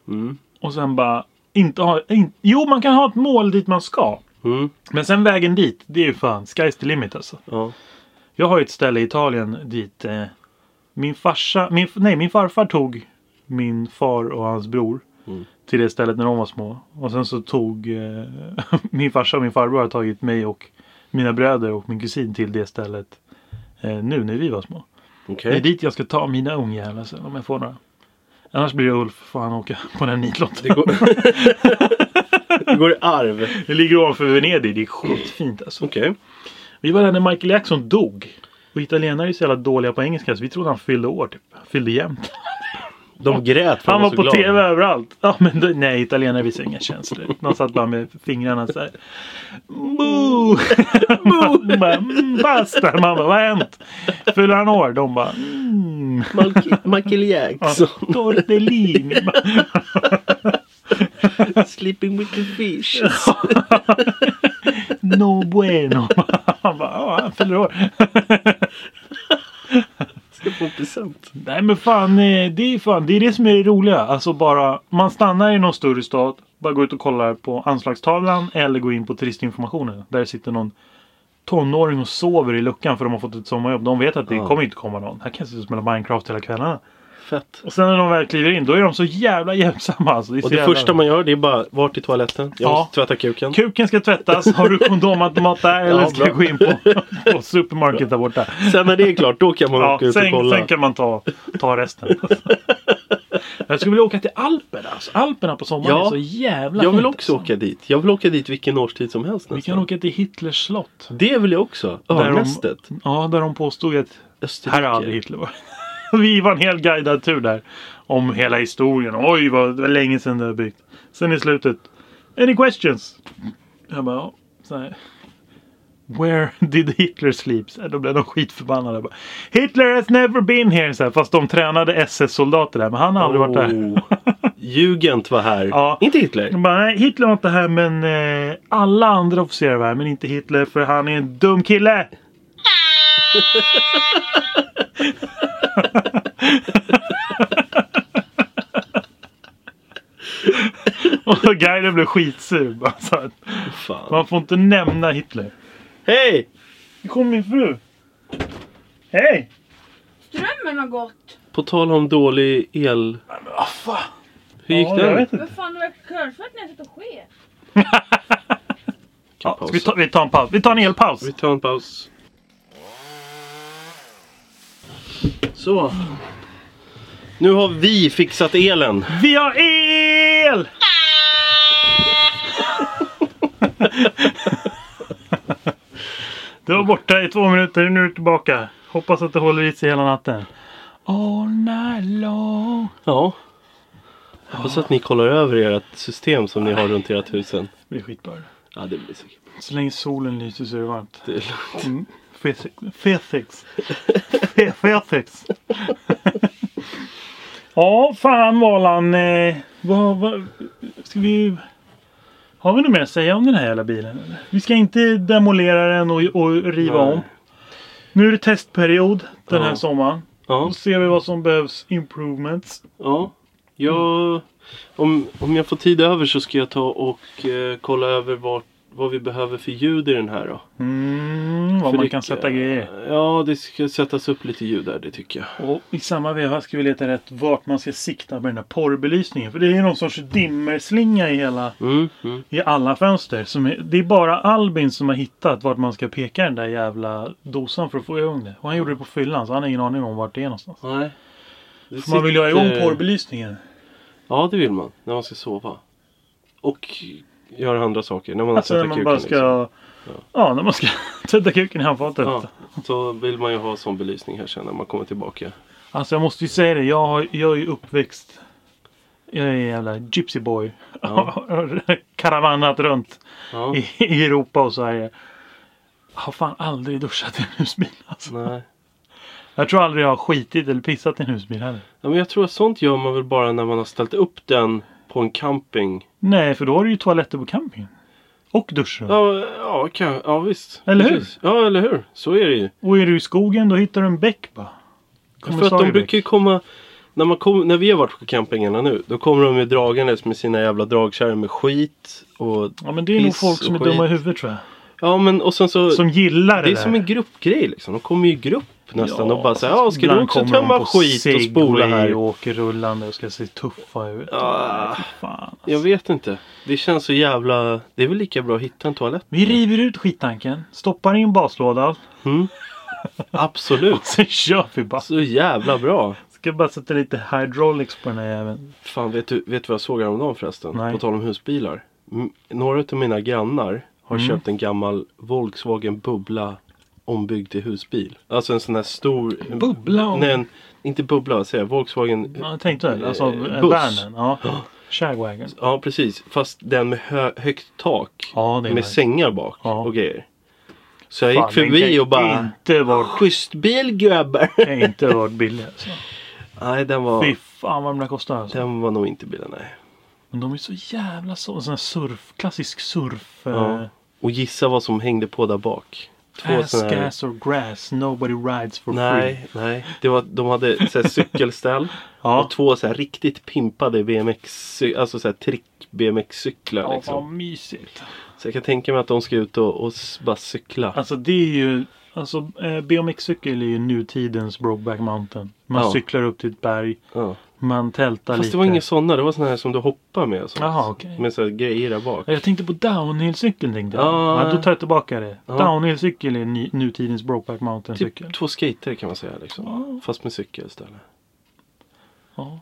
B: Mm.
A: Och sen bara, inte ha, in, jo man kan ha ett mål dit man ska.
B: Mm.
A: Men sen vägen dit, det är ju fan, sky's the limit alltså.
B: Ja.
A: Jag har ju ett ställe i Italien dit eh, min farsa, min, nej min farfar tog min far och hans bror
B: Mm.
A: till det stället när de var små. Och sen så tog eh, min farsa och min farbror har tagit mig och mina bröder och min kusin till det stället eh, nu när vi var små. Det
B: Okej.
A: är dit jag ska ta mina ungjävlar sen om jag får några. Annars blir det Ulf, får han åka på den nitlotten.
B: Det går... det går i arv.
A: Det ligger ovanför Venedig, det är skitfint alltså.
B: Okej.
A: Vi var där när Michael Jackson dog. Och italienare är så jävla dåliga på engelska så vi trodde han fyllde år typ. Han fyllde jämnt.
B: De grät för
A: Han
B: de
A: var
B: så
A: på
B: glada.
A: TV överallt. Ja, men då, nej, italienare visar inga känslor. De satt bara med fingrarna så här. Boo! Man bara, mm, Basta! Man bara, vad har hänt? Fyller han år? De bara, mm.
B: Mal- Michael Jackson.
A: Tortellini!
B: Sleeping with the fish.
A: No bueno! Han bara, ja, han fyller år.
B: Ska få present.
A: Nej men fan, eh, det är fan, det är det som är det roliga. Alltså bara, man stannar i någon större stad, bara går ut och kollar på anslagstavlan eller går in på turistinformationen. Där sitter någon tonåring och sover i luckan för de har fått ett sommarjobb. De vet att det
B: Ja.
A: kommer inte komma någon. Här kan jag sitta och spela Minecraft hela kvällarna.
B: Fett.
A: Och sen när de väl kliver in, då är de så jävla hjälpsamma. Alltså, det är så
B: Och det
A: jävla...
B: första man gör det är bara vart i toaletten? Jag
A: Ja.
B: måste tvätta kuken.
A: Kuken ska tvättas. Har du kondomautomat där? Eller
B: Ja,
A: ska jag
B: bra.
A: gå in på, på supermarket där borta?
B: Sen när det är klart då kan man
A: Ja,
B: åka ut och
A: sen,
B: kolla.
A: sen kan man ta, ta resten. jag skulle vilja åka till Alperna. Alltså, Alperna på sommaren
B: Ja.
A: är så jävla
B: Jag vill
A: fint,
B: också
A: alltså.
B: åka dit. Jag vill åka dit vilken årstid som helst
A: Vi kan
B: nästan.
A: åka till Hitlers slott.
B: Det vill jag också.
A: de-
B: Örnnästet.
A: Ja, där de påstod att
B: Österrike.
A: här har aldrig Hitler varit. Vi var en hel guidad tur där. Om hela historien. Oj, vad det var länge sedan det var byggt. Sen i slutet. Any questions? Jag bara, ja. Så här. Where did Hitler sleep? Så här, Då blev de skitförbannade. Jag Bara, Hitler has never been here. Så här, fast de tränade SS-soldater där. Men han har aldrig varit där.
B: Oh. Jugend var här.
A: Ja. Mm.
B: Inte Hitler.
A: De Bara, nej, Hitler var inte här men eh, alla andra officerare var här men inte Hitler för han är en dum kille. Och guiden blev skitsur. bara, så att
B: Fan.
A: Man får inte nämna Hitler.
B: Hej!
A: Nu kommer min fru. Hej!
C: Strömmen har gått!
B: På tal om dålig el. Hur gick
A: Ja, jag
B: det?
A: vet inte.
C: Vad fan, det var kölsvart när jag satt och sket.
A: Ja, ska vi, ta, vi tar en paus. Vi tar en elpaus.
B: Vi tar en paus. Så. Nu har vi fixat elen.
A: Vi har el! Du var borta i två minuter, nu är du tillbaka. Hoppas att det håller i sig hela natten. All night long.
B: Ja. Jag hoppas att ni kollar över ert system som ni har runt ert husen.
A: Det blir skitbra. det.
B: Ja, det blir säkert.
A: Så länge solen lyser så är det varmt.
B: Det är lugnt.
A: Mm. Fesex. Fesex. ja, fan Valan. Eh, vad, vad, ska vi... Har vi något mer att säga om den här jävla bilen? eller? Vi ska inte demolera den och, och riva
B: Nej.
A: om. Nu är det testperiod den här
B: Ja.
A: sommaren.
B: Ja.
A: Då ser vi vad som behövs improvements.
B: Ja, jag, om, om jag får tid över så ska jag ta och eh, kolla över vart, vad vi behöver för ljud i den här då.
A: Mm, vad
B: För
A: man
B: det-
A: kan sätta grejer.
B: Ja, det ska sättas upp lite ljud där, det tycker jag.
A: Och i samma veva ska vi leta rätt vart man ska sikta med den här porrbelysningen. För det är ju någon sorts dimmerslinga i hela...
B: Mm, mm.
A: I alla fönster. Som är, det är bara Albin som har hittat vart man ska peka den där jävla dosan för att få igång det. Och han gjorde det på fyllan så han har ingen aning om vart det är någonstans.
B: Nej. Det
A: För man vill ju ha igång
B: sitter-
A: porrbelysningen.
B: Ja, det vill man. När man ska sova. Och göra andra saker. När man
A: Alltså när
B: sätter
A: man
B: kuken
A: bara ska...
B: liksom.
A: Ja, när man ska sätta kuken i handfatet.
B: Ja, så vill man ju ha sån belysning här sen när man kommer tillbaka.
A: Alltså jag måste ju säga det. Jag, har, jag är ju uppväxt. Jag är en jävla gypsy boy.
B: Ja.
A: Karavannat runt
B: Ja.
A: i, i Europa och Sverige. Jag har fan aldrig duschat i en husbil alltså.
B: Nej.
A: Jag tror aldrig jag har skitit eller pissat i en husbil heller.
B: Ja, men jag tror att sånt gör man väl bara när man har ställt upp den på en camping.
A: Nej, för då har du ju toaletter på campingen. Och duschrum.
B: Ja, ja, kan, ja visst.
A: Eller hur?
B: Precis. Ja, eller hur. Så är det ju.
A: Och är du i skogen då hittar du en bäck bara.
B: För att de brukar ju komma... När, man kom, när vi har varit på campingarna nu, då kommer de ju dragandes med sina jävla dragkärror med skit och...
A: Ja men det är nog
B: piss
A: folk som är
B: och
A: dumma i
B: skit.
A: huvudet tror jag.
B: Ja, men och sen så...
A: Som gillar det
B: det är
A: där.
B: som en gruppgrej liksom. De kommer ju i grupp nästan
A: Ja,
B: och bara säger ja, ska du
A: ibland
B: också
A: kommer de
B: tömma
A: på
B: skit och spola
A: Segway
B: här?
A: och åker rullande och ska se tuffa ut.
B: Ah.
A: Fy Fan. alltså.
B: Jag vet inte. Det känns så jävla... Det är väl lika bra att hitta en toalett?
A: Vi river ut skittanken, stoppar in baslådan,
B: Mm. Absolut.
A: sen kör vi bara.
B: Så jävla bra.
A: Ska bara sätta lite hydraulics på den här jäveln.
B: Fan, vet du, vet du vad jag såg häromdagen förresten?
A: Nej.
B: På tal om husbilar. M- några av mina grannar har
A: Mm.
B: köpt en gammal Volkswagen Bubbla ombyggd till husbil. Alltså en sån här stor... en-
A: Bubbla om-
B: Nej, en, inte bubbla, vad säger jag? Volkswagen...
A: Ja,
B: Ja.
A: jag tänkte väl. Alltså
B: Eh,
A: eh,
B: buss.
A: värnen. Ja. Shagwagon.
B: precis. Fast den med hö- högt tak.
A: Ja, det är
B: med
A: nice.
B: sängar bak
A: Ja.
B: och grejer. Så jag
A: Fan,
B: gick förbi
A: den Mm.
B: och bara...
A: Inte varit
B: Schysst bil gubbar!
A: kan ju inte ha varit billig alltså.
B: Nej, den var...
A: Fy fan vad de där kostar alltså.
B: Den var nog inte bilen, nej.
A: Men de är så jävla så. En sån här surf, klassisk surf.
B: Ja.
A: Ja.
B: Och gissa vad som hängde på där bak. Två
A: Ass,
B: såna här...
A: gas or grass. Nobody rides for free.
B: Nej, nej. Det var, de hade så här cykelställ
A: Ja.
B: och två så här riktigt pimpade BMX, alltså så här trick BMX-cyklar.
A: Ja, vad
B: liksom.
A: mysigt.
B: Så jag kan tänka mig att de ska ut och, och s- bara cykla.
A: Alltså det är ju. Alltså eh, BMX-cykel är ju nutidens Brokeback Mountain. Man
B: Ja.
A: cyklar upp till ett berg.
B: Ja.
A: Man tältar lite.
B: Fast det var inga sådana, det var såna här som du hoppar med. och sånt.
A: Jaha, okej.
B: Med så här grejer där bak.
A: Ja, Jag tänkte på downhillcykeln tänkte jag.
B: Ja.
A: Ja, då tar jag tillbaka det.
B: Ja.
A: Downhillcykel är ny, nutidens Brokeback Mountain-cykel.
B: Typ två skater kan man säga liksom. Fast med cykel istället.
A: Ja.
B: Den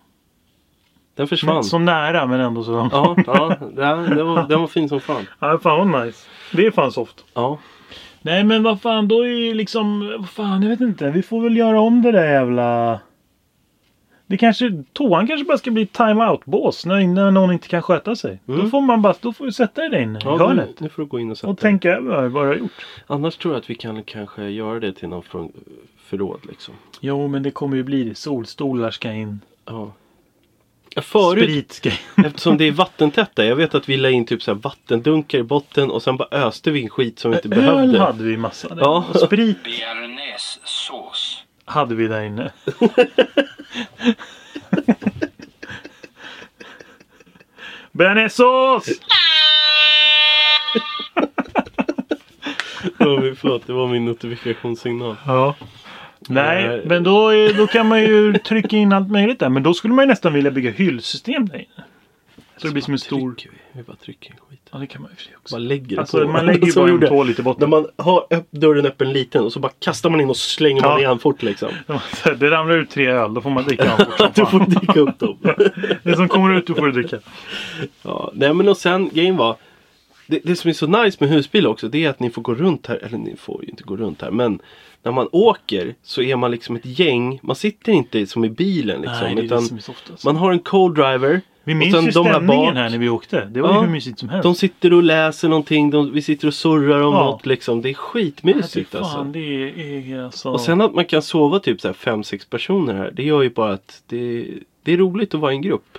A: Men
B: försvann.
A: Så nära men ändå så långt.
B: Ja, ja den, den, var, den var fin som fan.
A: Ja, fan vad nice. Det är fan soft.
B: Ja,
A: Nej men vad fan, då är ju liksom... Vad fan, jag vet inte. Vi får väl göra om det där jävla... Det kanske... Toan kanske bara ska bli time-out-bås när, när någon inte kan sköta sig. Då
B: Mm.
A: får man bara... Då får du sätta dig där inne i
B: ja
A: hörnet.
B: nu, nu får du gå in och sätta
A: Och
B: dig.
A: tänka över vad du har gjort.
B: Annars tror jag att vi kan kanske göra det till någon från- förråd liksom.
A: Jo, men det kommer ju bli det. Solstolar ska in.
B: Ja. Ja, Förut,
A: Sprit ska in.
B: eftersom det är vattentätt där. Jag vet att vi la in typ så här vattendunkar i botten och sen bara öste vi in skit som vi inte
A: Öl
B: behövde.
A: hade vi massa där.
B: Ja.
A: Och sprit
D: bearnaisesås.
A: hade vi där inne. Bearnaisesås!
B: Oh, förlåt, det var min notifikationssignal.
A: Ja. Nej,
B: Eh,
A: men då, är, då kan man ju trycka in allt möjligt där. Men då skulle man ju nästan vilja bygga hyllsystem där inne. Så det blir som en stor...
B: Trycker vi. vi bara trycker in skit.
A: Ja, det kan man ju för sig också.
B: Bara lägger det
A: Alltså,
B: på.
A: man lägger ju
B: Som
A: bara
B: vi
A: en
B: gjorde.
A: tå lite i
B: När
A: botten.
B: man har öpp- dörren öppen liten och så bara kastar man in och slänger man
A: Ja.
B: igen fort liksom.
A: Det ramlar ut tre öl, då får man dricka dem fort som
B: Att du
A: fan.
B: får dyka upp dem.
A: Det som kommer ut, då får du dricka.
B: Ja, nej men och sen grejen var. det, det som är så nice med husbil också det är att ni får gå runt här. Eller ni får ju inte gå runt här men när man åker så är man liksom ett gäng. Man sitter inte som i bilen liksom.
A: Nej, det är
B: utan
A: det som är så ofta. alltså.
B: man har en co-driver.
A: Vi
B: och
A: minns
B: sen
A: ju
B: de här
A: stämningen här,
B: bak.
A: när vi åkte. Det var
B: Ja.
A: ju hur mysigt som helst.
B: De sitter och läser någonting. De, vi sitter och surrar om
A: Ja.
B: något liksom. Det är
A: Ja, fy
B: skitmysigt
A: fan,
B: alltså.
A: Det är, är alltså...
B: Och sen att man kan sova typ så här 5-6 personer här. Det gör ju bara att det, det är roligt att vara i en grupp.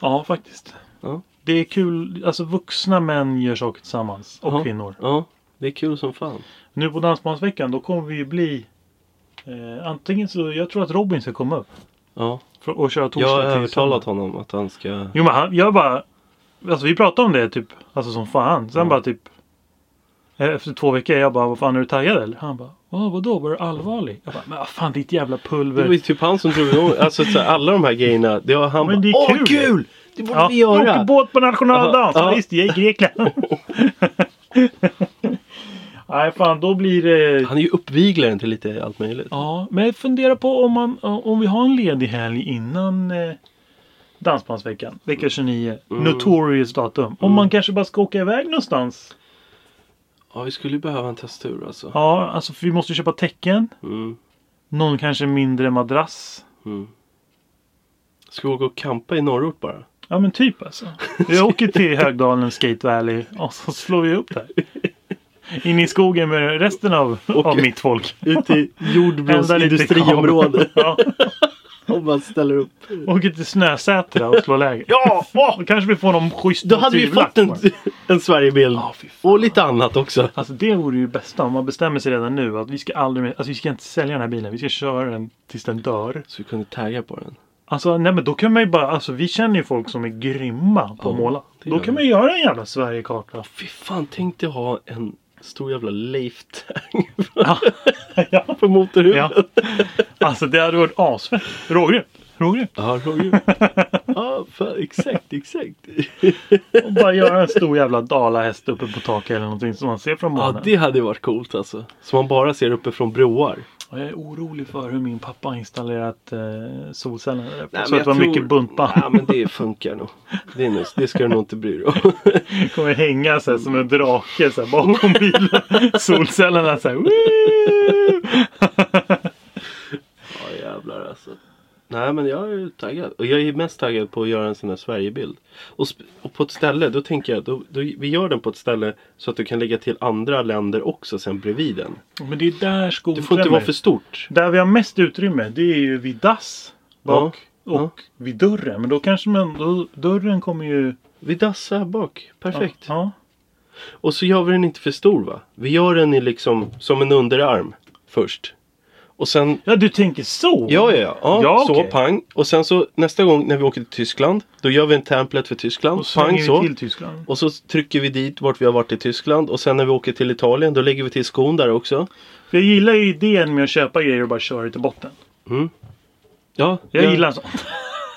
A: Ja, faktiskt.
B: Ja.
A: Det är kul. Alltså vuxna män gör saker tillsammans. Och
B: Ja.
A: kvinnor.
B: Ja, det är kul som fan.
A: Nu på Dansbandsveckan då kommer vi ju bli... Eh, antingen så... Jag tror att Robin ska komma upp.
B: Ja.
A: för- Och köra torsdag
B: Jag har
A: till
B: övertalat
A: söndag.
B: honom att han ska...
A: Jo men han, jag bara... Alltså vi pratade om det typ. Alltså som fan. Sen
B: Ja.
A: bara typ... eh, Efter två veckor jag bara vad fan är du taggad eller? Han bara "Ja, vadå var du allvarlig? Jag bara men vad fan ditt jävla
B: Det
A: pulver.
B: var ju typ han som drog igång alltså, så här, alla de här grejerna. Det har han
A: Men det är
B: bara, Åh
A: kul."
B: kul! Det borde vi
A: Vi
B: göra!
A: åker båt på nationaldagen.
B: Ja,
A: Ja,
B: ja.
A: Visst, jag är i Grekland. Nej, fan då blir det...
B: Han är ju uppviglaren till lite allt möjligt.
A: Ja, men fundera på om, man, om vi har en ledig helg innan eh, Dansbandsveckan. Vecka 29. Notorious datum. Om man kanske bara ska åka iväg någonstans.
B: Ja, vi skulle ju behöva en testur alltså.
A: Ja, alltså för vi måste köpa täcken.
B: Mm,
A: Någon kanske mindre madrass.
B: mm. Ska vi gå och campa i norrort bara?
A: Ja men typ alltså. Vi åker till Högdalen Skate Valley och så slår vi upp där. In i skogen med resten av, av
B: Okej.
A: mitt folk.
B: Ut i jordbrons
A: Elda lite
B: industriområde.
A: kabel. ja.
B: Om man ställer upp.
A: Åker till Snösätra och slår läger.
B: Ja!
A: Då kanske vi får någon schysst
B: Då hade vi
A: motivlapp
B: fått en,
A: bara.
B: en Sverigebild.
A: Ja, fy fan.
B: och lite annat också.
A: Alltså det vore ju det bästa om man bestämmer sig redan nu att vi ska aldrig mer, alltså vi ska inte sälja den här bilen, vi ska köra den tills den dör.
B: Så vi kunde tagga på den.
A: Alltså nej men då kan man ju bara, alltså vi känner ju folk som är grymma på
B: Ja,
A: att måla.
B: det
A: Då
B: gör
A: kan
B: vi.
A: man ju göra en jävla Sverigekarta.
B: Fy fan, tänkte ha en stor jävla Leif-tagg
A: Ja. ja.
B: på motorhuven.
A: Ja. Alltså det hade varit asfett. Rågrymt. Rågrymt.
B: Ja, Roger. Ja, fan, exakt, exakt.
A: Och bara göra en stor jävla dalahäst uppe på taket eller någonting som man ser från
B: Ja,
A: månen.
B: det hade varit coolt alltså. Som man bara ser uppe från broar.
A: Och jag är orolig för hur min pappa har installerat eh, solceller där uppe.
B: Nej,
A: Så
B: men
A: att det var
B: jag tror-
A: mycket buntband.
B: Ja, men det funkar nog. Det, är nog, det ska du nog inte bry dig om.
A: kommer hänga så här, som en drake så här, bakom bilen. Solcellerna så här. "Woo!"
B: Ja, jävlar alltså. Nej, men jag är ju taggad. Och jag är mest taggad på att göra en sån här Sverigebild. Och, sp- och på ett ställe, då tänker jag, då, då, vi gör den på ett ställe så att du kan lägga till andra länder också sen bredvid den.
A: Men det är där skon
B: Det får inte vara för stort.
A: Där vi har mest utrymme det är ju vid dass. Bak.
B: Ja, ja.
A: Och vid dörren. Men då kanske man, då, dörren kommer ju...
B: Vi dassar här bak. Perfekt.
A: Ja.
B: Och så gör vi den inte för stor va? Vi gör den i liksom som en underarm först. Och sen,
A: Ja, du tänker så?
B: ja ja ja, ja,
A: Ja,
B: så
A: okej.
B: pang. Och sen så nästa gång när vi åker till Tyskland, då gör vi en template för Tyskland.
A: Och så
B: pang
A: hänger
B: så.
A: vi till Tyskland.
B: Och så trycker vi dit vart vi har varit i Tyskland och sen när vi åker till Italien då lägger vi till skon där också.
A: För jag gillar ju idén med att köpa grejer och bara köra det till botten.
B: Ja,
A: Jag
B: ja,
A: gillar sånt.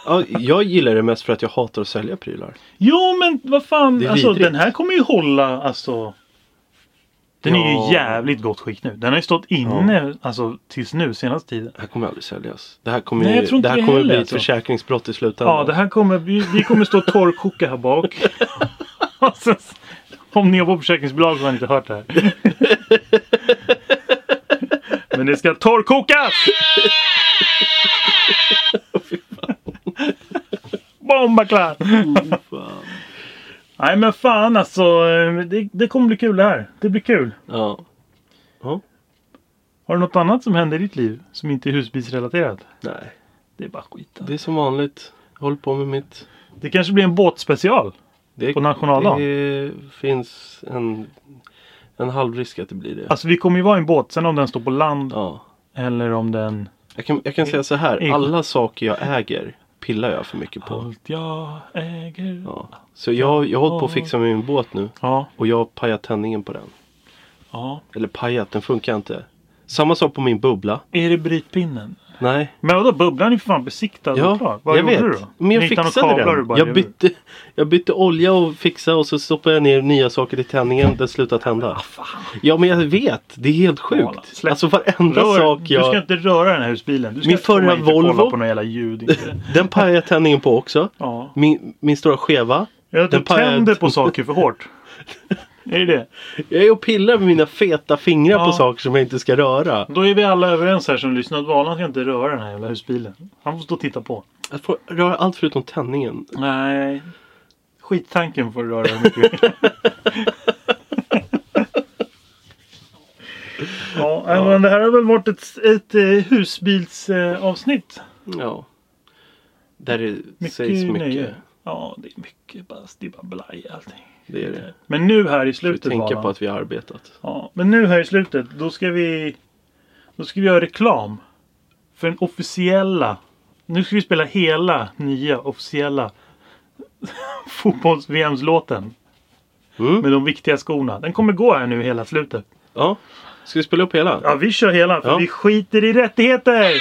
B: Ja, jag gillar det mest för att jag hatar att sälja prylar.
A: Jo men vad fan.
B: Det är
A: Alltså
B: vidrigt.
A: den här kommer ju hålla alltså. Den är
B: Ja.
A: ju jävligt gott skick nu. Den har ju stått inne alltså tills nu senaste tiden.
B: Det här kommer aldrig säljas. Det här kommer,
A: Nej,
B: ju-
A: jag tror inte
B: det här
A: det
B: kommer
A: heller,
B: bli ett
A: alltså.
B: försäkringsbrott i slutändan.
A: Ja det här kommer. Vi, vi kommer stå och torrkoka här bak. Och sen- om ni jobbar på försäkringsbolag så har ni inte hört det här. Men det ska torrkokas! Bomba klar!
B: Fan.
A: Nej men fan alltså. eh, Det, det kommer bli kul det här. Det blir kul.
B: Ja.
A: Har du något annat som händer i ditt liv som inte är husbilsrelaterat?
B: Nej,
A: Det är bara skit.
B: det är som vanligt. Håll på med mitt.
A: Det kanske blir en båtspecial.
B: Det,
A: På nationaldagen?
B: Det finns en, en halv risk att det blir det.
A: Alltså vi kommer ju vara i en båt. Sen om den står på land
B: Ja.
A: eller om den...
B: Jag, kan, jag kan säga så här.
A: I-
B: Alla saker jag äger pillar jag för mycket på.
A: Allt jag äger. Ja.
B: Ja. Så jag, jag har hållit på att fixa med min båt nu.
A: Ja.
B: Och jag har pajat tändningen på den. Eller pajat, den funkar inte. Samma sak på min bubbla.
A: Är det brytpinnen?
B: Nej,
A: Men vadå bubblan är ju för fan besiktad och
B: ja,
A: klar. Vad
B: jag
A: gjorde
B: vet.
A: du då?
B: Men jag
A: Ni hittade
B: fixade
A: några kablar
B: den.
A: och bara-
B: Jag bytte, jag bytte olja och fixade och så stoppade jag ner nya saker i tändningen. Den slutade tända. Ja, men jag vet. Det är helt
A: Ah, Kolla,
B: sjukt.
A: släpp.
B: Alltså varenda
A: Rör,
B: sak
A: Du ska
B: jag...
A: inte röra den här husbilen. Du ska
B: Min
A: inte komma
B: förra
A: hit och
B: Volvo-
A: kolla på några jävla ljud. Inte.
B: Den pajade jag tändningen på också.
A: Ja.
B: Min, min stora skeva.
A: Ja, du
B: Den pajade-
A: tänder på saker för hårt. Är det det?
B: Jag är och pillar med mina feta fingrar
A: Ja.
B: på saker som jag inte ska röra.
A: Då är vi alla överens här som lyssnar att Valan ska inte röra den här jävla husbilen. Han får stå och titta på.
B: Jag får röra allt förutom tändningen.
A: Nej. Skittanken får röra hur mycket. du vill. ja, nej, men det här har väl varit ett, ett eh, husbilsavsnitt.
B: Ja. Där det
A: Mycket
B: sägs mycket.
A: nöje. Ja, det är mycket bast. Det är bara blaj allting.
B: Det är det.
A: Men nu här i
B: Får vi
A: slutet
B: tänka
A: Valan.
B: på att vi har arbetat.
A: Ja, men nu här i slutet, då ska vi... Då ska vi göra reklam. För den officiella... Nu ska vi spela hela nya officiella fotbolls-VMs-låten.
B: Mm.
A: Med de viktiga skorna. Den kommer gå här nu hela slutet.
B: Ja. Ska vi spela upp hela?
A: Ja, vi kör hela för
B: Ja.
A: vi skiter i rättigheter!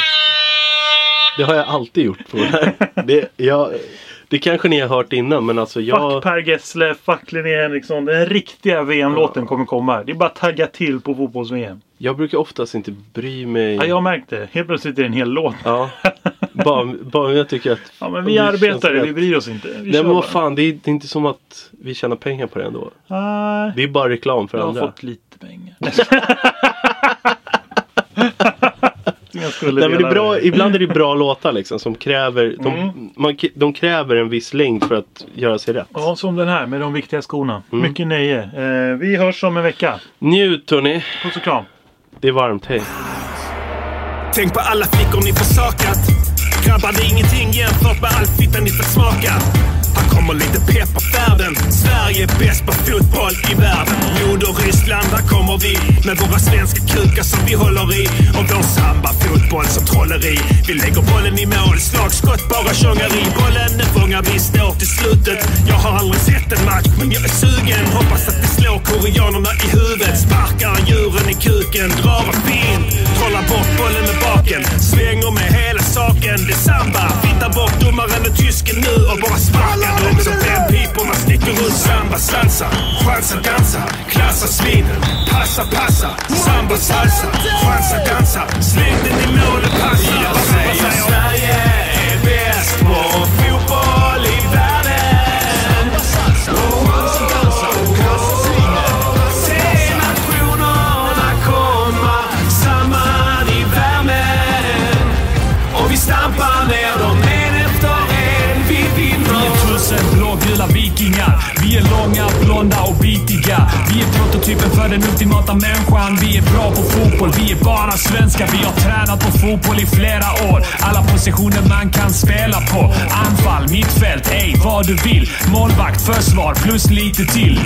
B: Det har jag alltid gjort på den här. Det, jag, det kanske ni har hört innan men alltså
A: Fuck
B: jag...
A: Per Gessle, fuck Linnea Henriksson. Den riktiga VM-låten kommer komma. Det är bara att tagga till på fotbolls-VM.
B: Jag brukar oftast inte bry mig.
A: Ja, jag har märkt det. Helt plötsligt är det en hel låt.
B: Ja. Bara, bara om jag tycker att...
A: Ja, men
B: om
A: vi
B: det känns
A: arbetare,
B: rätt.
A: vi bryr oss inte. Vi
B: Nej
A: kör
B: men vad
A: bara.
B: fan, det är, det är inte som att vi tjänar pengar på det ändå.
A: Nej.
B: Det är bara reklam för
A: Jag har
B: andra.
A: fått lite pengar. jag skulle
B: Nej, men det
A: dela
B: är bra, ibland är det bra låtar liksom som kräver... De,
A: Mm.
B: man, k- de kräver en viss längd för att göra sig rätt.
A: Ja, som den här med de viktiga skorna.
B: Mm.
A: Mycket nöje. Eh, vi hörs om en vecka.
B: Njut hörni,
A: Puss och kram.
B: det är varmt, hej.
E: Tänk på alla flickor ni försakat. Grabbar, det är ingenting jämfört med all fitta ni fått smaka. Här kommer lite pepparfärden. Sverige är bäst på fotboll i världen. Moder Ryssland, där kommer vi. Med våra svenska kukar som vi håller i. Och vår samba fotboll som trolleri. Vi lägger bollen i mål, slagskott, bara tjongeri. Bollen den fångar vi, står till slutet. Jag har aldrig sett en match, men jag är sugen. Hoppas att vi slår koreanerna i huvudet. Sparkar djuren i kuken, drar en fint. Trollar bort bollen med baken. Svänger med hela saken, det är samba. Fittar bort domaren och tysken nu och bara sparkar dem som fem piporna sticker ut. Samba, salsa, chansa, dansa. Klassa svinen, passa, passa. Samba, salsa, chansa, dansa. Släng den i mål och passa. Jag säger Sverige är bäst på fotboll i världen. Se nationerna komma samman i värmen. Och vi stampar ner dem en efter en. Vi vinner.
F: tusen blågula vikingar. Vi är långa, blonda och bitiga. Vi är prototypen för den ultimata människan. Vi är bra på fotboll, vi är bara svenska. Vi har tränat på fotboll i flera år. Alla positioner man kan spela på. Anfall, mittfält, ej vad du vill. Målvakt, försvar, plus lite till.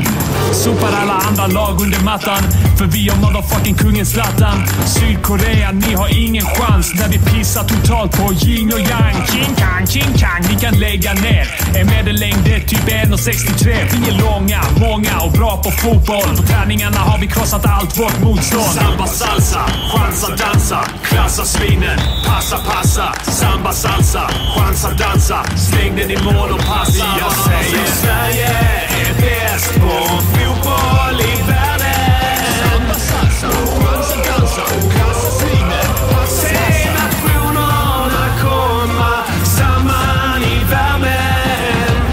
F: Sopar alla andra lag under mattan. För vi har motherfucking kungen Zlatan. Sydkorea, ni har ingen chans. När vi pissar totalt på yin och yang. King kang, king kang, ni kan lägga ner. En medellängd är typ 1,63. Vi är långa, många och bra på fotboll. På träningarna har vi krossat allt vårt motstånd.
E: Samba salsa, chansa dansa, klassa svinen, passa passa. Samba salsa, chansa dansa, släng den i mål och passa. Jag säger Sverige är bäst på fotboll i världen. Samba salsa, chansa dansa, klassa svinen, passa Se nationerna komma samman i värmen.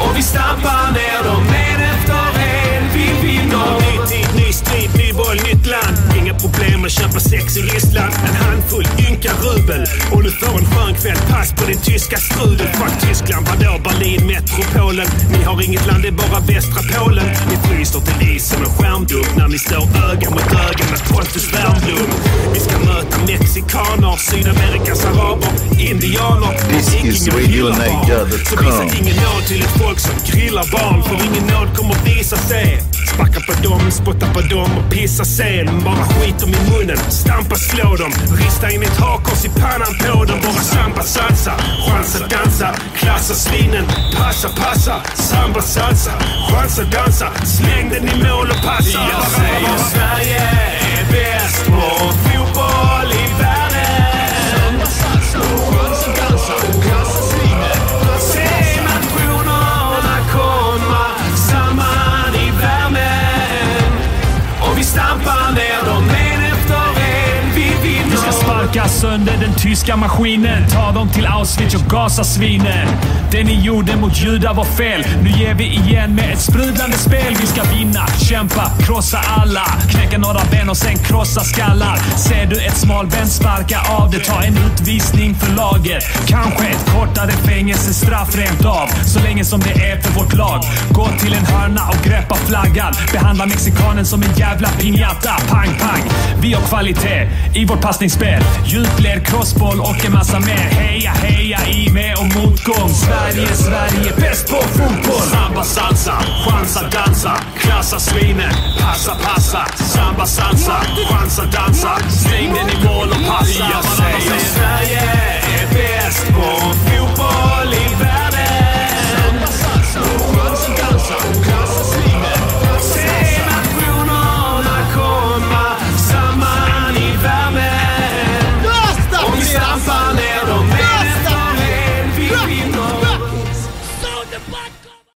E: Och vi stampar ner dem en efter en. Vi vinner. Ny tid, ny strid, ny boll, nytt land. Inga problem att köpa sex i Ryssland. En handfull ynka rubel. Och du får en skön kväll. Pass på din tyska strudel. Fuck Tyskland, vadå Berlin, metropolen. Ni har inget land, det är bara västra Polen. Ni fryser till is som en skärmdump. När ni står öga mot öga med Pontus Wernbloom. Vi ska möta mexikaner, Sydamerikas araber, indianer.
G: This
E: Vikingar,
G: is Radio
E: gillar barn.
G: Niger.com.
E: Så visa ingen nåd till ett folk som grillar barn För ingen nåd kommer visa sig Sparka på dem, spotta på dem och pissa sen Bara skit dem i munnen, stampa, slå dem Rista in ett hakkors i pannan på dem Bara samba, salsa, chansa, dansa Klassa svinen, passa, passa Samba, salsa, chansa, dansa Släng den i mål och passa Jag säger Sverige är bäst på fotboll i världen Se nationerna komma samman i värmen. Och vi stampar ner dem en efter en. Vi vinner.
F: sparkas
E: sönder den tyska maskinen. Ta dem till Auschwitz och gasa svinen. Det ni gjorde mot judar var fel. Nu ger vi igen med ett sprudlande spel. Vi ska vinna, kämpa, krossa alla. Knäcka några ben och sen krossa skallar. Ser du ett smalben, sparka av det. Ta en utvisning för laget. Kanske ett kortare fängelsestraff rent av. Så länge som det är för vårt lag. Gå till en hörna och greppa flaggan. Behandla mexikanen som en jävla piñata. Pang, pang. Vi har kvalitet i vårt passningsspel. Djupled, crossboll och en massa mer. Heja, heja i med och motgång. Sverige, Sverige, bäst på fotboll.
H: Samba salsa, chansa dansa, klassa svinet, passa passa. Samba salsa, chansa dansa, släng den i mål och passa.